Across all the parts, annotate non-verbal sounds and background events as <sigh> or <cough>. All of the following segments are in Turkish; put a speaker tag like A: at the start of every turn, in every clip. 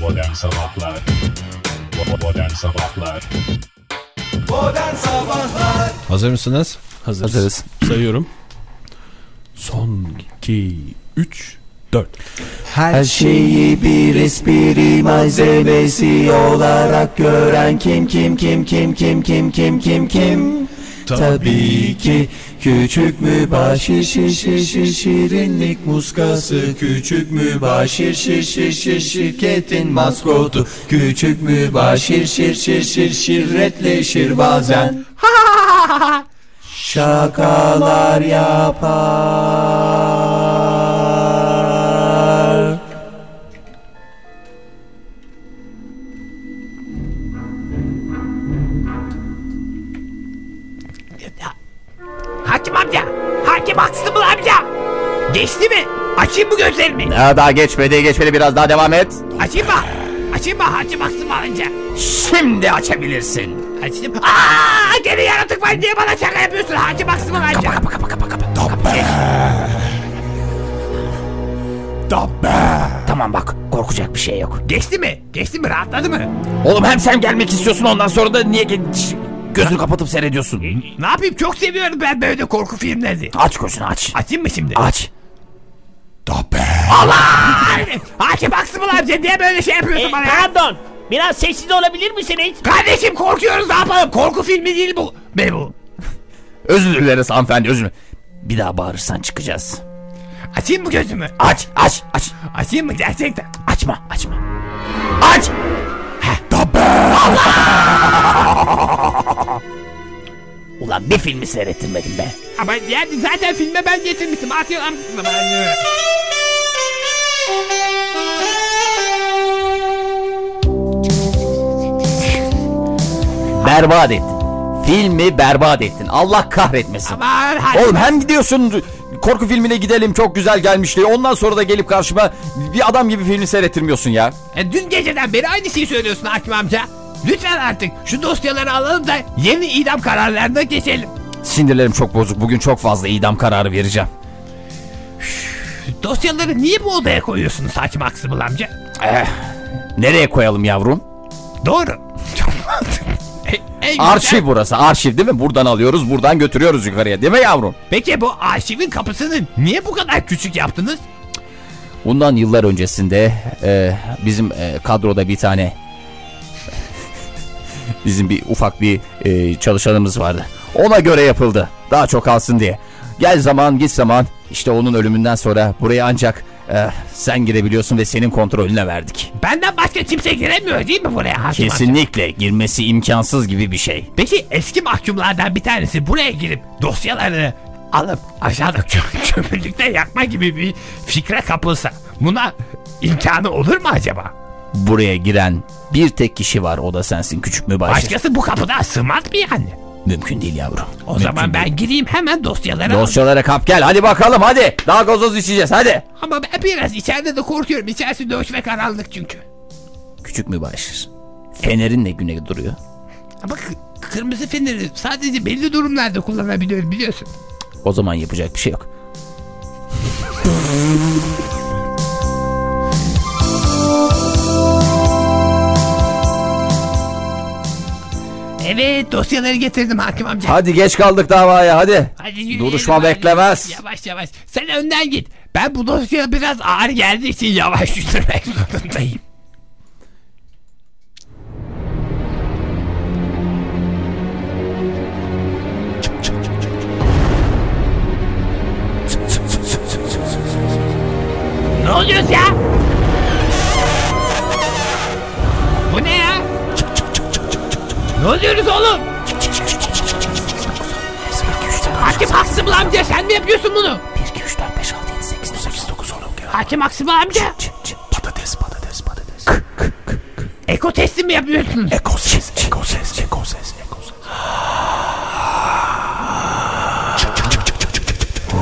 A: Modern Sabahlar Modern Sabahlar
B: Hazır mısınız?
C: Hazırız.
B: Hazırız.
C: Sayıyorum. Son 2, 3, 4.
D: Her şeyi bir espri malzemesi olarak gören kim kim kim kim kim kim kim kim kim Tabii ki küçük mübaşir şir şir şir şirinlik muskası Küçük mübaşir şir şir şir şirketin maskotu Küçük mübaşir şir şir şir şirretleşir bazen Şakalar yapar
E: Hakim amca! Hakim haksız mı amca? Geçti mi? Açayım mı gözlerimi?
D: Ya daha geçmedi geçmedi biraz daha devam et.
E: Açayım mı? Açayım mı hakim haksız mı amca?
D: Şimdi açabilirsin.
E: Açtım. Aaa! Gene yaratık var diye bana şaka yapıyorsun hakim haksız mı amca? Kapa kapa kapa kapa.
D: Tamam bak korkacak bir şey yok.
E: Geçti mi? Geçti mi? Rahatladı mı?
D: Oğlum hem sen gelmek istiyorsun ondan sonra da niye geç- gözünü kapatıp seyrediyorsun?
E: E, Ne yapayım? Çok seviyorum ben böyle korku filmlerini.
D: Aç gözünü aç.
E: Açayım mı şimdi?
D: Aç.
E: hakim haksız mı amca? Niye böyle şey
D: E,
E: yapıyorsun bana ya?
F: Pardon. Biraz sessiz olabilir misiniz?
E: Kardeşim korkuyoruz ne yapalım? Korku filmi değil bu. Ne bu?
D: <laughs> Özür dileriz hanımefendi özür dilerim. Bir daha bağırırsan çıkacağız.
E: Açayım mı gözümü?
D: Aç aç aç.
E: Açayım mı gerçekten?
D: Açma açma. Aç.
F: Ulan bir filmi seyrettirmedim be.
E: Ama yani zaten filme ben getirmiştim. Atıyor amcasına bana.
D: Berbat ettin. Filmi berbat ettin. Allah kahretmesin.
E: Aman hadi.
D: Oğlum hem gidiyorsun korku filmine gidelim çok güzel gelmiş diye. Ondan sonra da gelip karşıma bir adam gibi filmi seyrettirmiyorsun ya.
E: E, dün geceden beri aynı şeyi söylüyorsun Hakim amca. Lütfen artık şu dosyaları alalım da yeni idam kararlarına geçelim.
D: Sinirlerim çok bozuk. Bugün çok fazla idam kararı vereceğim.
E: Dosyaları niye bu odaya koyuyorsunuz Hakim Aksımıl amca?
D: Eh, Nereye koyalım yavrum?
E: Doğru. Çok mantıklı. E, en güzel-
D: Arşiv burası. Arşiv değil mi? Buradan alıyoruz, buradan götürüyoruz yukarıya. Değil mi yavrum?
E: Peki bu arşivin kapısını niye bu kadar küçük yaptınız?
D: Bundan yıllar öncesinde e, bizim e, kadroda bir tane bizim bir ufak bir e, çalışanımız vardı. Ona göre yapıldı. Daha çok alsın diye. Gel zaman git zaman işte onun ölümünden sonra buraya ancak e, sen girebiliyorsun ve senin kontrolüne verdik.
E: Benden başka kimse giremiyor değil mi buraya Hakim amca?
D: Kesinlikle girmesi imkansız gibi bir şey.
E: Peki eski mahkumlardan bir tanesi buraya girip dosyalarını alıp aşağıda çö- <laughs> çöplükte yakma gibi bir fikre kapılsa buna imkanı olur mu acaba?
D: buraya giren bir tek kişi var o da sensin küçük mübaşir.
E: Başkası bu kapıdan sığmaz mı yani?
D: Mümkün değil yavrum.
E: O zaman ben gireyim hemen dosyaları alayım.
D: Dosyalara kap gel hadi bakalım hadi. Daha gazoz içeceğiz hadi.
E: Ama ben biraz içeride de korkuyorum. İçerisi döş ve karanlık çünkü.
D: Küçük mübaşir. Fenerin ne güne duruyor?
E: Ama kı- kırmızı feneri sadece belli durumlarda kullanabiliyorum biliyorsun.
D: O zaman yapacak bir şey yok.
E: Evet dosyaları getirdim hakim amca.
D: Hadi geç kaldık davaya hadi.
E: Hadi yürüyelim,
D: Duruşma
E: hadi.
D: beklemez.
E: Yavaş yavaş. Sen önden git. Ben bu dosya biraz ağır geldiği için yavaş <laughs> yürümek zorundayım. Ne oluyor ya? Bu ne ya? Ne oluyoruz oğlum? Hakim Haksıbıl amca sen mi yapıyorsun bunu?
D: 1, 2, 3, 4, 5, 6, 7, 8, 8, 9, 10, 11,
E: Hakim Haksıbıl amca.
D: Patates patates patates.
E: Eko testi mi yapıyorsun?
D: Eko ses eko ses eko ses eko ses.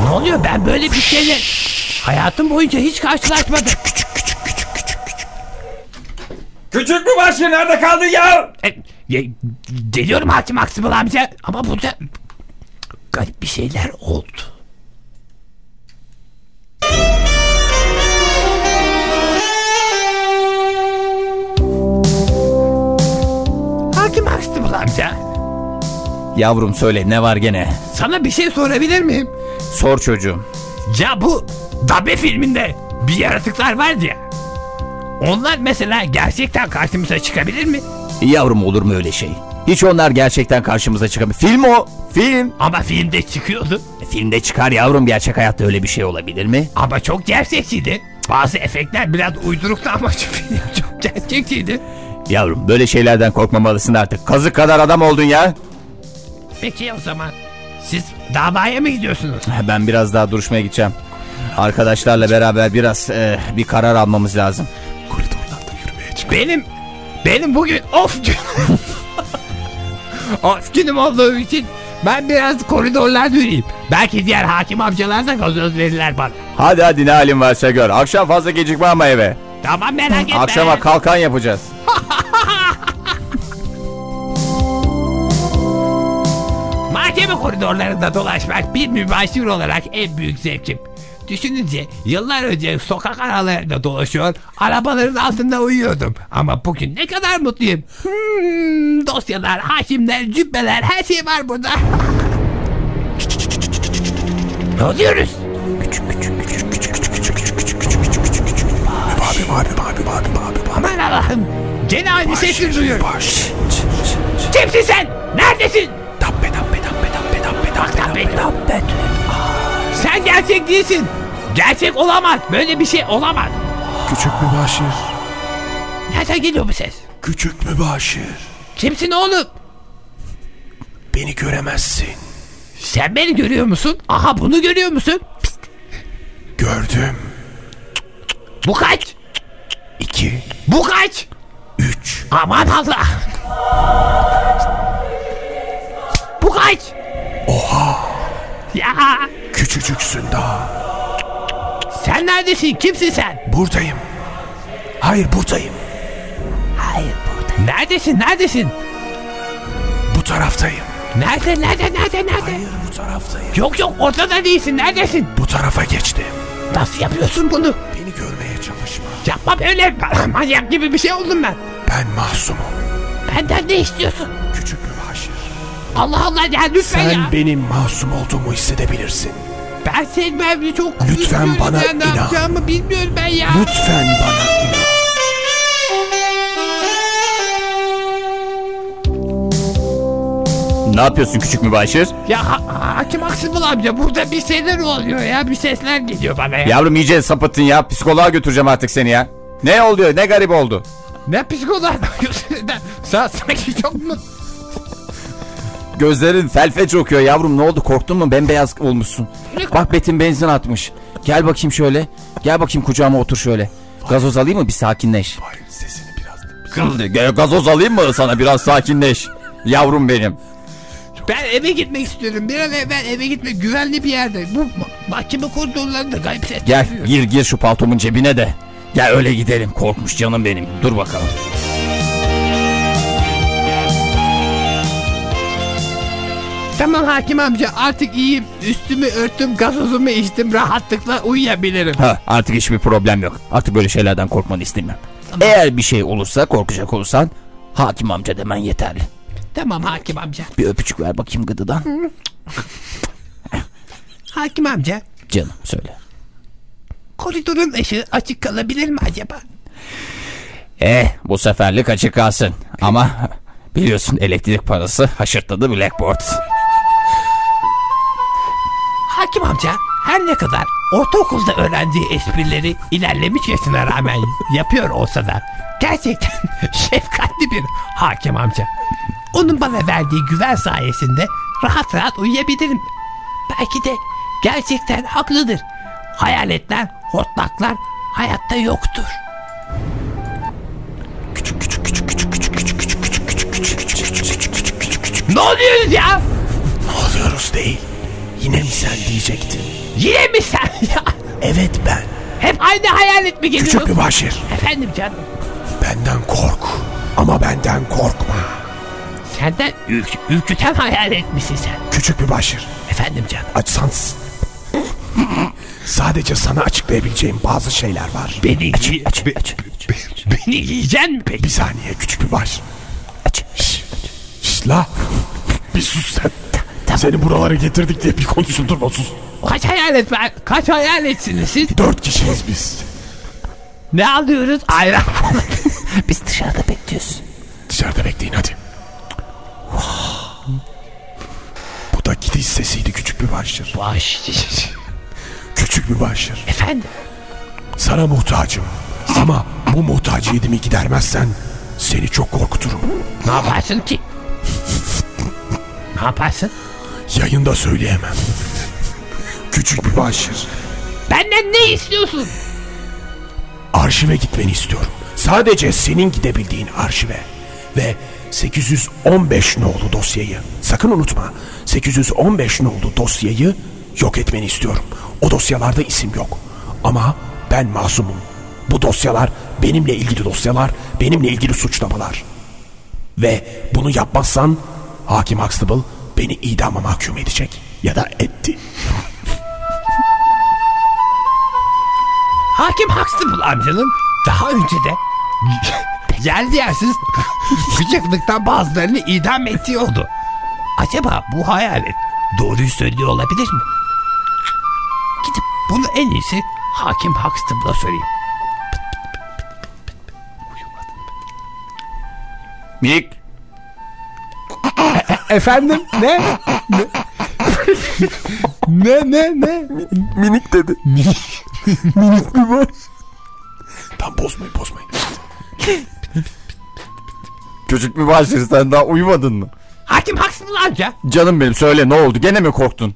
E: Ne oluyor ben böyle bir şeyle hayatım boyunca hiç karşılaşmadım.
C: Küçük mü başı nerede kaldın ya?
E: E, e, Geliyorum Hakim Haksıbıl amca ama burada garip bir şeyler oldu.
D: Yavrum söyle ne var gene?
E: Sana bir şey sorabilir miyim?
D: Sor çocuğum.
E: Ya bu Dabe filminde bir yaratıklar vardı ya. Onlar mesela gerçekten karşımıza çıkabilir mi?
D: Yavrum olur mu öyle şey? Hiç onlar gerçekten karşımıza çıkamıyor. Film o. Film.
E: Ama filmde çıkıyordu.
D: E, Filmde çıkar yavrum gerçek hayatta öyle bir şey olabilir mi?
E: Ama çok gerçekçiydi. Bazı efektler biraz uyduruktu ama <laughs> şu film çok gerçekçiydi.
D: Yavrum böyle şeylerden korkmamalısın artık. Kazık kadar adam oldun ya.
E: Peki o zaman siz davaya mı gidiyorsunuz?
D: Ben biraz daha duruşmaya gideceğim. Arkadaşlarla beraber biraz e, bir karar almamız lazım.
G: Koridorlarda yürümeye çık.
E: Benim benim bugün off gün. <laughs> off günüm olduğu için ben biraz koridorlarda yürüyeyim. Belki diğer hakim amcalar da gazoz verirler bana.
D: Hadi hadi ne halin varsa gör. Akşam fazla gecikme ama eve.
E: Tamam merak etme.
D: Akşama kalkan yapacağız.
E: Mahkeme koridorlarında dolaşmak bir mübaşir olarak en büyük zevkim. Düşününce yıllar önce sokak aralarında dolaşıyor, arabaların altında uyuyordum. Ama bugün ne kadar mutluyum. Hmm, dosyalar, hakimler, cübbeler her şey var burada. ne oluyoruz?
G: Abi abi abi abi abi.
E: Aman Allah'ım. Gene aynı sesini duyuyorum. Kimsin sen? Neredesin?
G: Dabbe dabbe dabbe dabbe dabbe dabbe dabbe.
E: Sen gerçek değilsin. Gerçek olamaz. Böyle bir şey olamaz.
G: Küçük mübaşir.
E: Nereden geliyor bu ses?
G: Küçük mübaşir.
E: Kimsin oğlum?
G: Beni göremezsin.
E: Sen beni görüyor musun? Aha bunu görüyor musun? Pist,
G: Gördüm.
E: Bu kaç?
G: İki.
E: Bu kaç?
G: Üç.
E: Aman Allah. Bu kaç? Oha. Ya
G: Küçücüksün daha.
E: sen neredesin? Kimsin sen?
G: Buradayım. Hayır buradayım.
E: Hayır burada. Neredesin? Neredesin?
G: Bu taraftayım.
E: Nerede? Nerede? Nerede? Nerede?
G: Hayır bu taraftayım.
E: Yok yok ortada değilsin. Neredesin?
G: Bu tarafa geçtim.
E: Nasıl yapıyorsun bunu?
G: Beni görmeye çalışma.
E: Yapma böyle. Manyak gibi bir şey oldum ben.
G: Ben masumum.
E: Benden ne istiyorsun?
G: Küçük mübaşir.
E: Allah Allah ya lütfen ya.
G: benim masum olduğumu hissedebilirsin.
E: Ben senin evli çok
G: Lütfen
E: üzülüyorum
G: bana
E: ya, Ne
G: inan.
E: yapacağımı bilmiyorum ben ya.
G: Lütfen bana inan.
D: Ne yapıyorsun küçük mübaşir?
E: Ya ha- hakim Aksımıl amca burada bir şeyler oluyor ya. Bir sesler geliyor bana ya.
D: Yavrum iyice sapıttın ya. Psikoloğa götüreceğim artık seni ya. Ne oluyor ne garip oldu.
E: Ne psikoloğa bakıyorsun? Sen sanki çok mu?
D: Gözlerin felfeç okuyor yavrum ne oldu korktun mu bembeyaz olmuşsun. Bak Betin benzin atmış. Gel bakayım şöyle. Gel bakayım kucağıma otur şöyle. Gazoz alayım mı bir sakinleş.
G: Hayır sesini biraz
D: Kıldı. Gel Gazoz alayım mı sana biraz sakinleş. Yavrum benim.
E: Ben eve gitmek istiyorum. Bir an evvel eve gitmek güvenli bir yerde. Bu ma- mahkeme koridorlarında garip sesler
D: Gel
E: geliyor.
D: gir gir şu paltomun cebine de. Gel öyle gidelim korkmuş canım benim. Dur bakalım.
E: Tamam hakim amca artık iyiyim. Üstümü örttüm, gazozumu içtim. Rahatlıkla uyuyabilirim.
D: Ha artık hiçbir problem yok. Artık böyle şeylerden korkmanı istemiyorum. Eğer bir şey olursa korkacak olursan hakim amca demen yeterli.
E: Tamam hakim amca.
D: Bir öpücük ver bakayım gıdıdan.
E: Hakim amca
D: Canım söyle.
E: koridorun ışığı açık kalabilir mi acaba?
D: Eh bu seferlik açık kalsın. Ama biliyorsun elektrik parası haşırtladı Blackboard.
E: Hakim amca her ne kadar ortaokulda öğrendiği esprileri ilerlemiş yaşına rağmen yapıyor olsa da gerçekten <laughs> şefkatli bir hakim amca. Onun bana verdiği güven sayesinde rahat rahat uyuyabilirim. Belki de gerçekten haklıdır. Hayaletler, hortlaklar hayatta yoktur. Ne oluyoruz ya?
G: alıyoruz değil. Yine mi sen diyecektin?
E: Yine mi sen <laughs> ya?
G: Evet ben.
E: Hep aynı hayalet mi geliyor?
G: Küçük mübaşir.
E: Efendim canım.
G: Benden kork. Ama benden korkma.
E: Senden ürk- ürküten hayalet misin sen?
G: Küçük mübaşir.
E: Efendim canım.
G: Açsan s- Sadece sana açıklayabileceğim bazı şeyler var.
E: Beni, aç, beni yiyeceksin mi peki?
G: Bir saniye küçük mübaşir. Şş, şş, la. Bir sus sen. Seni buralara getirdik diye bir konuşuldurma sus.
E: Kaç hayalet var? Kaç hayaletsiniz siz?
G: Dört kişiyiz biz.
E: Ne alıyoruz? Ayran.
D: <laughs> Biz dışarıda bekliyoruz.
G: Dışarıda bekleyin hadi. Bu da gidiş sesiydi küçük bir başır.
E: Baş.
G: Küçük bir başır.
E: Efendim?
G: Sana muhtacım. Ama bu muhtaciyetimi gidermezsen seni çok korkuturum.
E: Ne yaparsın ki? <laughs> ne yaparsın?
G: Yayında söyleyemem. Küçük bir başır.
E: Benden ne istiyorsun?
G: Arşive gitmeni istiyorum. Sadece senin gidebildiğin arşive. Ve 815 nolu dosyayı. Sakın unutma. 815 nolu dosyayı yok etmeni istiyorum. O dosyalarda isim yok. Ama ben masumum. Bu dosyalar benimle ilgili dosyalar, benimle ilgili suçlamalar. Ve bunu yapmazsan Hakim Huxtable beni idama mahkum edecek. Ya da etti.
E: Hakim Huxtable amcanın daha önce de <laughs> yer yersiz gıcıklıktan bazılarını idam ettiği oldu. Acaba bu hayalet doğruyu söylüyor olabilir mi? Gidip bunu en iyisi Hakim Huxtable'a söyleyeyim.
H: Mik.
I: Efendim ne? ne ne ne?
G: Minik dedi. Minik. bir baş. Tam bozmayın bozmayın.
H: Küçük bir başır sen daha uyumadın mı?
E: Hakim Huxtable amca
H: Canım benim söyle ne oldu gene mi korktun?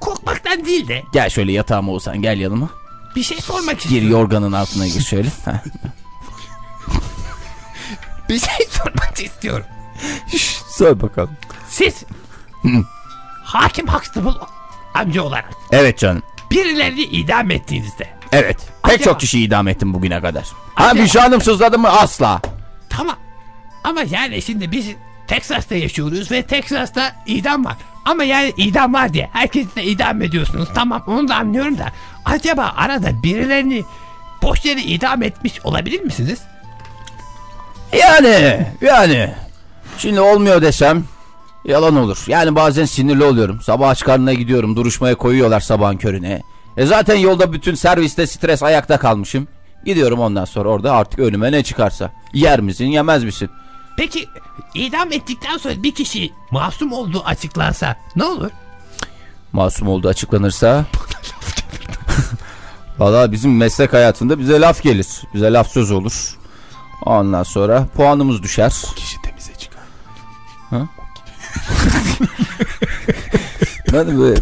E: korkmaktan değil de
D: Gel şöyle yatağıma Oğuzhan gel yanıma.
E: bir şey sormak
D: Gir
E: istiyorum.
D: yorganın altına
H: <laughs>
D: gir şöyle. Ha.
E: Bir şey <laughs> sormak istiyorum.
H: Söyle bakalım.
E: Siz Hakim Huxtable amca olarak
D: evet canım.
E: birilerini idam ettiğinizde
D: Evet. Pek
E: Acaba-
D: çok kişiyi idam ettim bugüne kadar. Ha
E: Acaba-
D: Büşra Hanım sızladı mı? Asla.
E: Tamam. Ama yani şimdi biz Texas'ta yaşıyoruz ve Texas'ta idam var. Ama yani idam var diye herkesi de idam ediyorsunuz. Tamam onu da anlıyorum da. Acaba arada birilerini boş yere idam etmiş olabilir misiniz?
D: Yani yani. Şimdi olmuyor desem yalan olur. Yani bazen sinirli oluyorum. Sabah aç karnına gidiyorum. Duruşmaya koyuyorlar sabahın körüne. E zaten yolda bütün serviste stres ayakta kalmışım. Gidiyorum ondan sonra orada artık önüme ne çıkarsa. Yer misin yemez misin?
E: Peki idam ettikten sonra bir kişi masum olduğu açıklansa ne olur?
D: Masum olduğu açıklanırsa. <laughs> Valla bizim meslek hayatında bize laf gelir. Bize laf söz olur. Ondan sonra puanımız düşer.
G: Kişi temize çıkar.
D: Ben de böyle...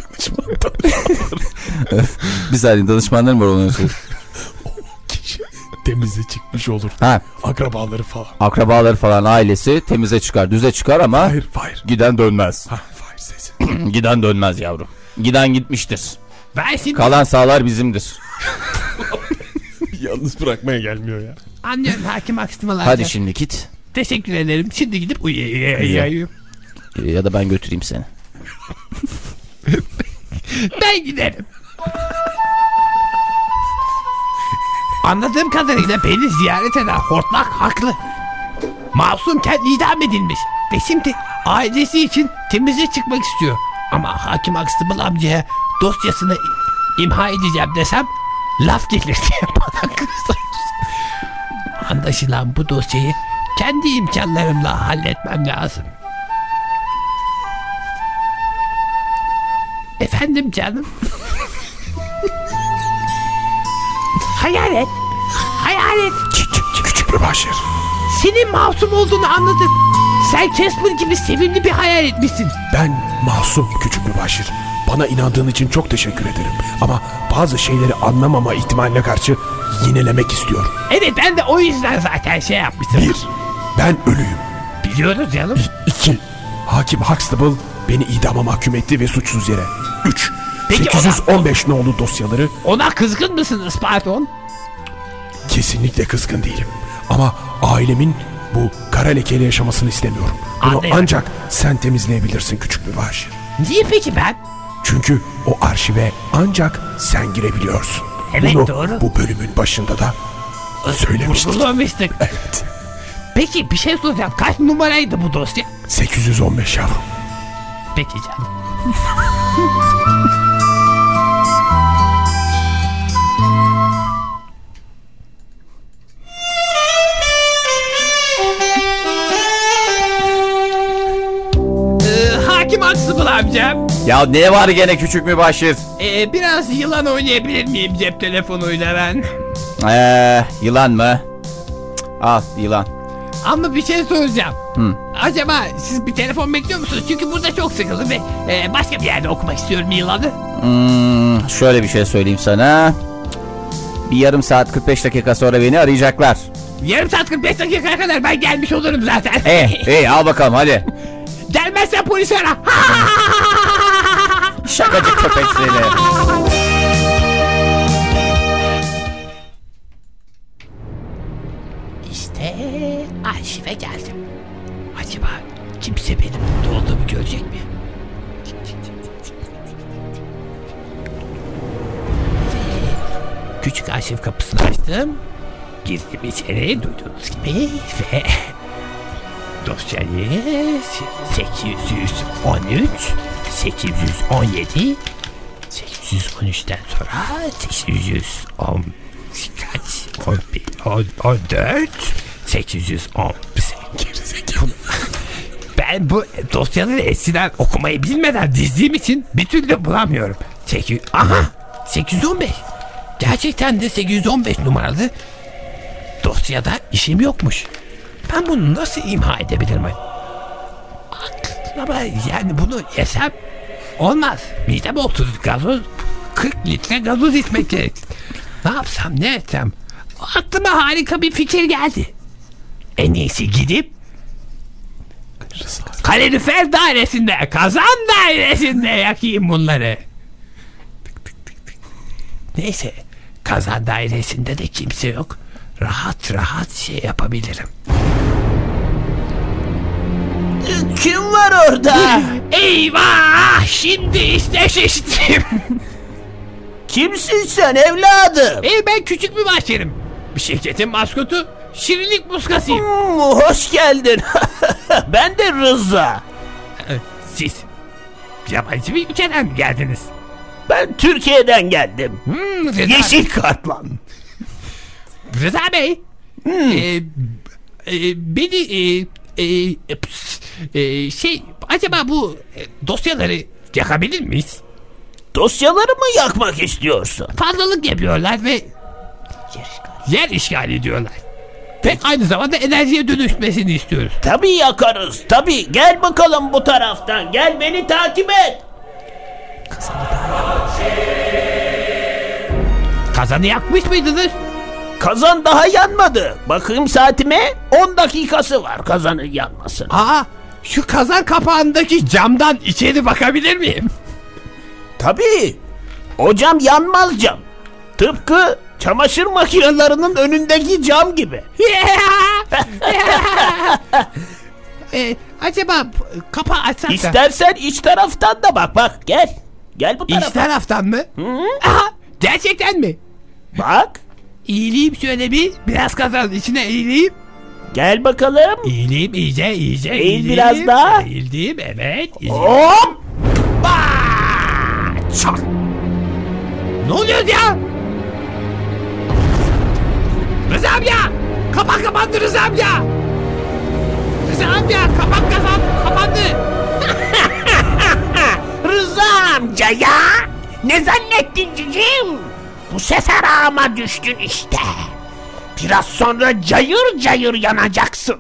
D: <laughs> bir saniye danışmanlarım var onun için.
G: Kişi temize çıkmış olur.
D: Ha
G: Akrabaları falan.
D: akrabaları falan ailesi temize çıkar düze çıkar ama
G: Hayır hayır.
D: giden dönmez.
G: Ha, hayır sesi. <laughs>
D: giden dönmez yavrum. Giden gitmiştir.
E: Ben şimdi
D: Kalan sağlar bizimdir.
G: Yalnız bırakmaya gelmiyor ya.
E: anlıyorum hakim aksımalar.
D: Hadi şimdi git
E: Teşekkür ederim. Şimdi gidip uyuyayım.
D: Ee, ya da ben götüreyim seni.
E: Ben giderim. Anladığım kadarıyla beni ziyaret eden hortlak haklı. Masumken idam edilmiş. Ve şimdi ailesi için temize çıkmak istiyor. Ama hakim Huxtable amcaya dosyasını imha edeceğim desem laf gelir diye bana kızar. Anlaşılan bu dosyayı kendi imkanlarımla halletmem lazım. Efendim canım. hayalet. Hayalet.
G: Küçük bir başır.
E: Senin masum olduğunu anladım. Sen Casper gibi sevimli bir hayal etmişsin.
G: Ben masum küçük bir başır. Bana inandığın için çok teşekkür ederim. Ama bazı şeyleri anlamama ihtimaline karşı yinelemek istiyorum.
E: Evet ben de o yüzden zaten şey yapmıştım.
G: Bir, ben ölüyüm.
E: Biliyoruz canım.
G: İki, Hakim Huxtable beni idama mahkum etti ve suçsuz yere. Üç,
E: Peki
G: 815 nolu dosyaları
E: Ona kızgın mısın Isparton?
G: Kesinlikle kızgın değilim. Ama ailemin bu kara lekeli yaşamasını istemiyorum. Bunu
E: Anlıyorum.
G: ancak sen temizleyebilirsin küçük bir başır.
E: Niye peki ben?
G: Çünkü o arşive ancak sen girebiliyorsun.
E: Evet,
G: Bunu
E: doğru.
G: bu bölümün başında da söylemiştik.
E: Vurgulamıştık.
G: Evet.
E: Peki bir şey soracağım. Kaç numaraydı bu dosya?
G: 815 yavrum.
E: Peki canım. Ee, Hakim Aksıbıl amcam.
H: Ya ne var gene küçük mübaşir?
E: Ee, biraz yılan oynayabilir miyim cep telefonuyla ben?
D: Eee Ee, yılan mı? Cık, Al yılan.
E: Ama bir şey soracağım.
D: Hı.
E: Acaba siz bir telefon bekliyor musunuz? Çünkü burada çok sıkıldım ve e, başka bir yerde okumak istiyorum yılanı.
D: Hmm, şöyle bir şey söyleyeyim sana. Cık, Bir yarım saat 45 dakika sonra beni arayacaklar.
E: Yarım saat 45 dakikaya kadar ben gelmiş olurum zaten.
D: E,
H: Eh.
E: <laughs>
D: e al bakalım hadi.
E: Gelmezse polis ara. <laughs>
D: Şakacı köpek seni.
E: işte arşive geldim. Acaba kimse benim burada olduğumu görecek mi? Ve Küçük arşiv kapısını açtım. Girdim içeri duyduğunuz gibi ve dosyayı 813 817 813'ten sonra 810 kaç? 11, 14 818 Bunu- Ben bu dosyaları eskiden okumayı bilmeden dizdiğim için bir türlü bulamıyorum. 8, aha 815. Gerçekten de 815 numaralı dosyada işim yokmuş. Ben bunu nasıl imha edebilirim? Ama yani bunu yesem olmaz. Midem oturdu gazoz. 40 litre gazoz içmek gerek. Ne yapsam ne etsem. Aklıma harika bir fikir geldi. En iyisi gidip kalorifer dairesinde, kazan dairesinde yakayım bunları. Neyse kazan dairesinde de kimse yok. Rahat rahat şey yapabilirim.
C: Kim var orada?
E: Eyvah! Şimdi işte şiştim.
C: Kimsin sen evladım?
E: Ey ben küçük bir bahçerim. Bir şirketin maskotu. Şirinlik muskasıyım.
C: Hmm, hoş geldin. <laughs> ben de Rıza.
E: Siz yabancı bir ülkeden mi geldiniz?
C: Ben Türkiye'den geldim.
E: Hmm, Rıza,
C: Yeşil kartlan.
E: Rıza Bey. Ee, e, beni e, e, e, ps- e, şey acaba bu e, dosyaları yakabilir miyiz?
C: Dosyaları mı yakmak istiyorsun?
E: Fazlalık yapıyorlar ve yer işgali ediyorlar. Ve aynı zamanda enerjiye dönüşmesini istiyoruz.
C: Tabii yakarız. Tabii. Gel bakalım bu taraftan. Gel beni takip et.
E: Kazanı yakmış mıydınız?
C: Kazan daha yanmadı. Bakayım saatime. 10 dakikası var kazanın yanmasına.
E: Aa şu kazan kapağındaki camdan içeri bakabilir miyim?
C: Tabii. O cam yanmaz cam. Tıpkı çamaşır makinelerinin önündeki cam gibi.
E: Ee, acaba p- kapağı açsak da...
C: İstersen iç taraftan da bak bak gel. Gel bu
E: İç
C: tarafa.
E: taraftan mı? Aha, gerçekten mi?
C: Bak.
E: İyileyim şöyle bir, biraz kazan içine eğileyim.
C: Gel bakalım.
E: İyileyim iyice iyice
C: Eğil biraz daha.
E: Eğildim evet. iyice.
C: Hop.
E: Ne oluyor ya? Rıza amca! Kapak kapandı Rıza amca! Rıza amca kapak kazan kapandı.
C: <laughs> Rıza amca ya. Ne zannettin cicim? Bu sefer ağıma düştün işte. Biraz sonra cayır cayır yanacaksın.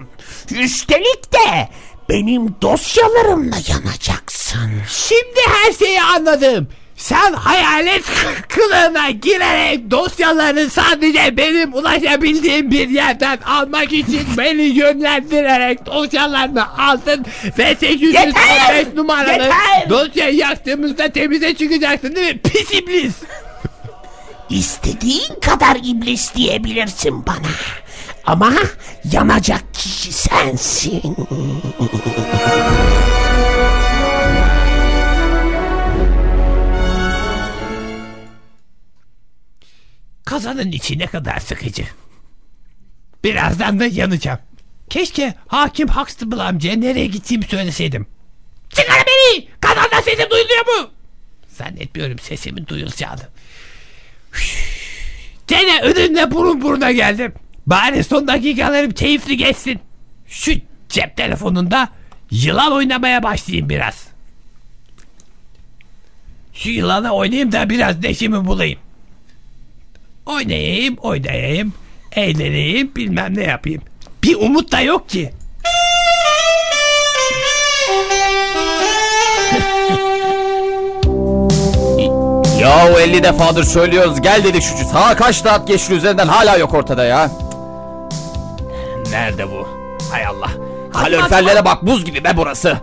C: Üstelik de benim dosyalarımla yanacaksın.
E: Şimdi her şeyi anladım. Sen hayalet kılığına girerek dosyaları sadece benim ulaşabildiğim bir yerden almak için beni yönlendirerek dosyalarını aldın ve 815
C: Yeter!
E: numaralı
C: Yeter!
E: dosyayı yaktığımızda temize çıkacaksın değil mi? Pis iblis!
C: İstediğin kadar iblis diyebilirsin bana. Ama yanacak kişi sensin.
E: Kazanın içi ne kadar sıkıcı. Birazdan da yanacağım. Keşke hakim Huxtable amcaya nereye gittiğimi söyleseydim. Çıkar beni! Kazanda sesim duyuluyor mu? Zannetmiyorum sesimin duyulacağını. Gene önünde burun buruna geldim. Bari son dakikalarım keyifli geçsin. Şu cep telefonunda yılan oynamaya başlayayım biraz. Şu yılanı oynayayım da biraz neşemi bulayım. Oynayayım, oynayayım, eğleneyim, bilmem ne yapayım. Bir umut da yok ki.
D: Yahu 50 defadır söylüyoruz gel dedik şu sağa kaç saat geçti üzerinden hala yok ortada ya. Nerede bu? Hay Allah. Kaloriferlere bak buz gibi be burası.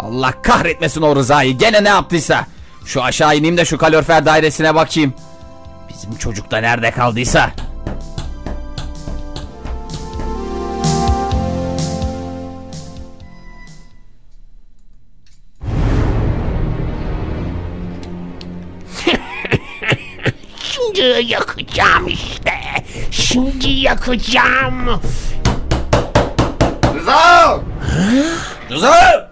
D: Allah kahretmesin o Rıza'yı gene ne yaptıysa. Şu aşağı ineyim de şu kalorifer dairesine bakayım. Bizim çocuk da nerede kaldıysa.
E: Şimdi yakacağım işte. Şimdi yakacağım.
D: Rıza! Rıza!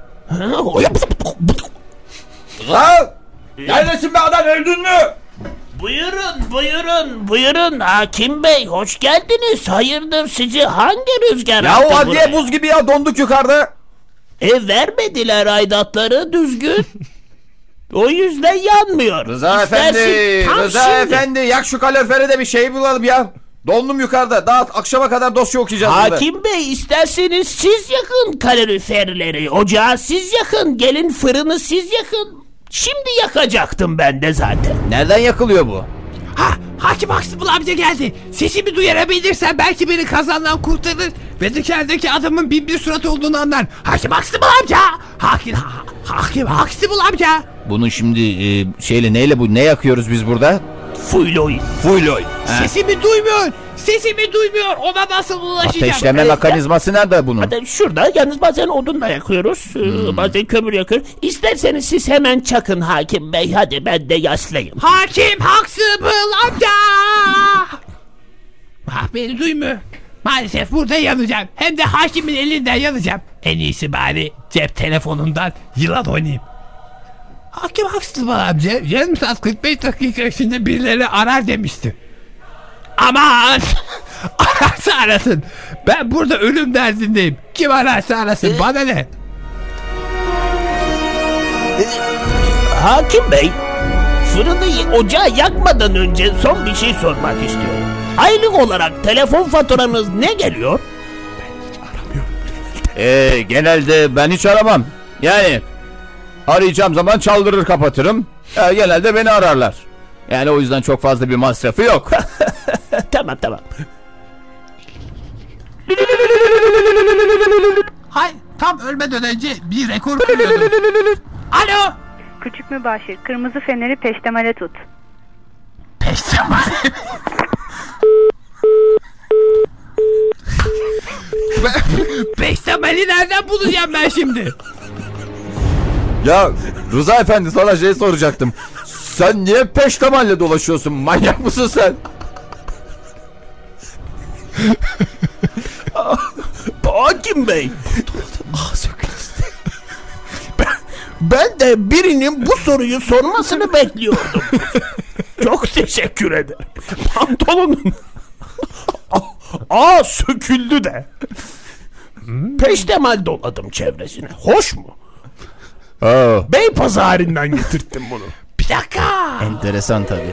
D: Rıza! Neredesin be adam öldün mü?
J: Buyurun, buyurun, buyurun Hakim Bey. Hoş geldiniz. Hayırdır sizi hangi rüzgar
D: Ya
J: attı
D: o adliye
J: buraya?
D: buz gibi ya donduk yukarıda.
J: E vermediler
D: <laughs>
J: aidatları düzgün. o yüzden yanmıyor.
D: Rıza
J: İstersin
D: efendi,
J: tam
D: Rıza
J: şimdi.
D: efendi yak şu kalorifere de bir şey bulalım ya. Dondum yukarıda. Daha akşama kadar dosya okuyacağız burada.
J: Hakim Bey isterseniz siz yakın kaloriferleri. Ocağı siz yakın. Gelin fırını siz yakın. Şimdi yakacaktım ben de zaten.
D: Nereden yakılıyor bu?
E: Ha, Hakim Huxtable amca geldi. Sesimi duyarabilirsen belki beni kazandan kurtarır. Ve dışarıdaki adamın bin bir surat olduğunu anlar. Hakim Huxtable amca! Hakim, ha, Hakim Huxtable amca!
D: Bunu şimdi e, şeyle neyle bu ne yakıyoruz biz burada?
J: Fuyloy.
D: Fuloy.
E: Sesimi duymuyor! Sesimi duymuyor! Ona nasıl ulaşacağım?
J: Ee,
D: Ateşleme mekanizması nerede bunun?
J: Zaten şurada yalnız bazen odunla yakıyoruz. ee, Bazen kömür yakıyoruz. İsterseniz siz hemen çakın hakim bey. Hadi ben de yaslayayım.
E: Hakim Huxtable amca! Ah beni duymuyor. Maalesef burada yanacağım. Hem de hakimin elinden yanacağım. En iyisi bari cep telefonundan yılan oynayayım. Hakim Huxtable amca yarım saat 45 dakika içinde birileri arar demişti. Aman! <laughs> ararsa arasın. Ben burada ölüm derdindeyim. Kim ararsa arasın bana ne?
J: Hakim bey fırını y- ocağı yakmadan önce son bir şey sormak istiyorum. Aylık olarak telefon faturanız ne geliyor?
D: Ee, genelde ben hiç aramam. Yani arayacağım zaman çaldırır kapatırım. Ya, genelde beni ararlar. Yani o yüzden çok fazla bir masrafı yok.
J: tamam tamam.
E: Hay tam ölmeden önce bir rekor kırıyordum. Alo!
K: Küçük mübaşir, kırmızı feneri peştemale tut.
E: <laughs> Beştemeli nereden bulacağım ben şimdi?
D: ya Rıza Efendi sana şey soracaktım. Sen niye peştemalle dolaşıyorsun? Manyak mısın sen?
J: Hakim bey. ben de birinin bu soruyu sormasını bekliyordum. Çok teşekkür ederim. Pantolonun A söküldü de. Peştemal doladım çevresine. Hoş mu?
D: Oo,
J: Bey pazarından getirttim bunu.
E: Bir dakika.
D: enteresan tabii.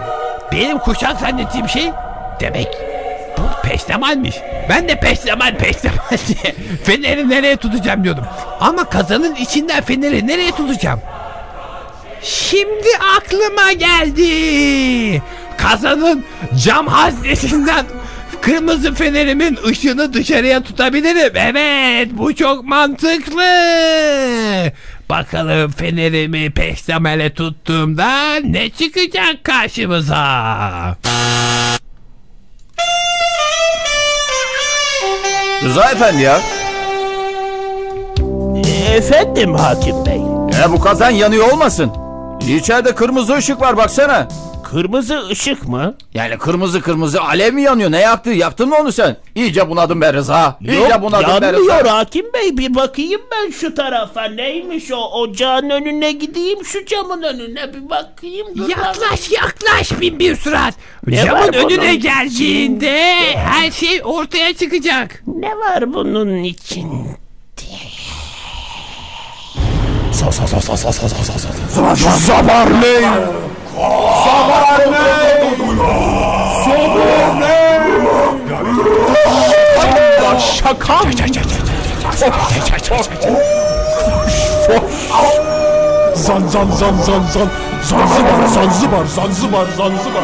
E: Benim kuşak zannettiğim şey demek bu peştemalmiş. Ben de peştemal peştemal diye feneri nereye tutacağım diyordum. Ama kazanın içinden feneri nereye tutacağım? Şimdi aklıma geldi. Kazanın cam haznesinden kırmızı fenerimin ışığını dışarıya tutabilirim. Evet bu çok mantıklı. Bakalım fenerimi peştemele tuttuğumda ne çıkacak karşımıza?
D: Rıza Efendi ya.
J: Efendim hakim bey.
D: E, Ya bu kazan yanıyor olmasın. İçeride kırmızı ışık var baksana.
J: Kırmızı ışık mı?
D: Yani kırmızı kırmızı alev mi yanıyor? Ne yaktı? Yaktın mı onu sen? İyice bunadın be Rıza. İyice
J: Yok
D: bunadın be Rıza.
J: yanmıyor hakim bey bir bakayım ben şu tarafa neymiş o ocağın önüne gideyim şu camın önüne bir bakayım. Dur
E: Yaklaş yaklaş bin bir surat.
J: Ne
E: Camın
J: var bunun
E: önüne
J: için?
E: geldiğinde her şey ortaya çıkacak.
J: Ne var bunun için?
G: Sa sa sa sa sa sa sa sa sa.
H: Sabahleyin. Sabahleyin.
G: Şaka mı? Zan zan zan zan zan. Zanzibar Zanzibar Zanzibar Zanzibar.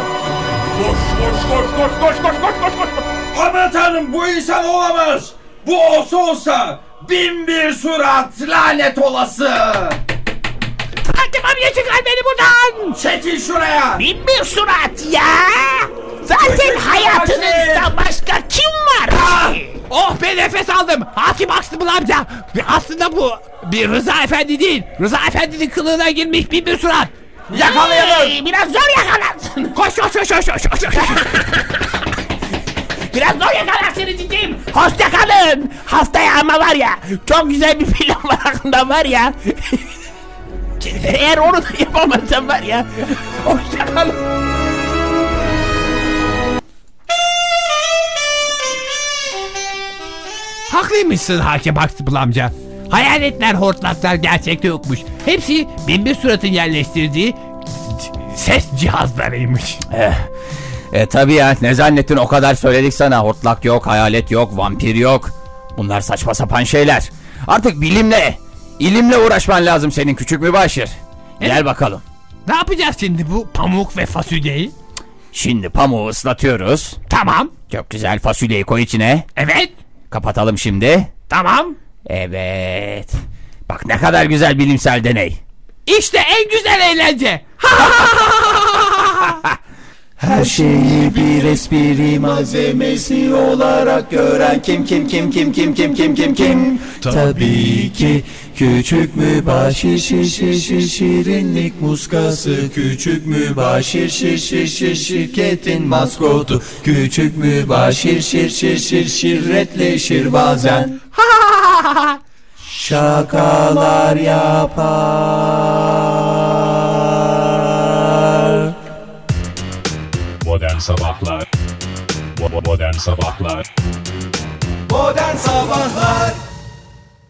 L: Aman tanrım bu insan olamaz. Bu olsa olsa bin bir surat lanet olası.
E: Hakim amca çıkar beni buradan.
L: Çekil şuraya.
J: Bin bir surat ya. Zaten hayatınızda başka kim var? ki?
E: Oh be nefes aldım. Hakim Aksımıl amca. Ve Aslında bu bir Rıza Efendi değil. Rıza Efendi'nin kılığına girmiş bin bir surat.
L: Yakalayalım.
J: Ee, biraz zor yakalarsın.
E: <laughs> Koş koş koş koş koş. koş.
J: <laughs> Biraz zor yakalarsınız cicim. Hoşça kalın. Haftaya ama var ya çok güzel bir film <laughs> var aklımda var ya. <laughs> Eğer onu da yapamazsam var ya. Hoşça kalın.
E: Haklıymışsın Hakim Aksımıl amca. Hayaletler, hortlaklar gerçekte yokmuş. Hepsi bin bir suratın yerleştirdiği ses cihazlarıymış.
D: Eh, E tabi ya ne zannettin o kadar söyledik sana hortlak yok hayalet yok vampir yok Bunlar saçma sapan şeyler Artık bilimle ilimle uğraşman lazım senin küçük mübaşir Gel bakalım
E: Ne yapacağız şimdi bu pamuk ve fasulyeyi?
D: Şimdi pamuğu ıslatıyoruz
E: Tamam.
D: Çok güzel fasulyeyi koy içine
E: Evet.
D: Kapatalım şimdi
E: Tamam.
D: Evet Bak ne kadar güzel bilimsel deney
E: İşte en güzel eğlence.
C: Her şeyi bir espri malzemesi olarak gören kim kim kim kim kim kim kim kim kim Tabii ki küçük mübaşir şir şir şir şirinlik muskası Küçük mübaşir şir şir şir şirketin maskotu Küçük mübaşir şir şir şir şirretleşir bazen Şakalar yapar
A: Modern Sabahlar Bo- bo- Modern Sabahlar
C: Modern Sabahlar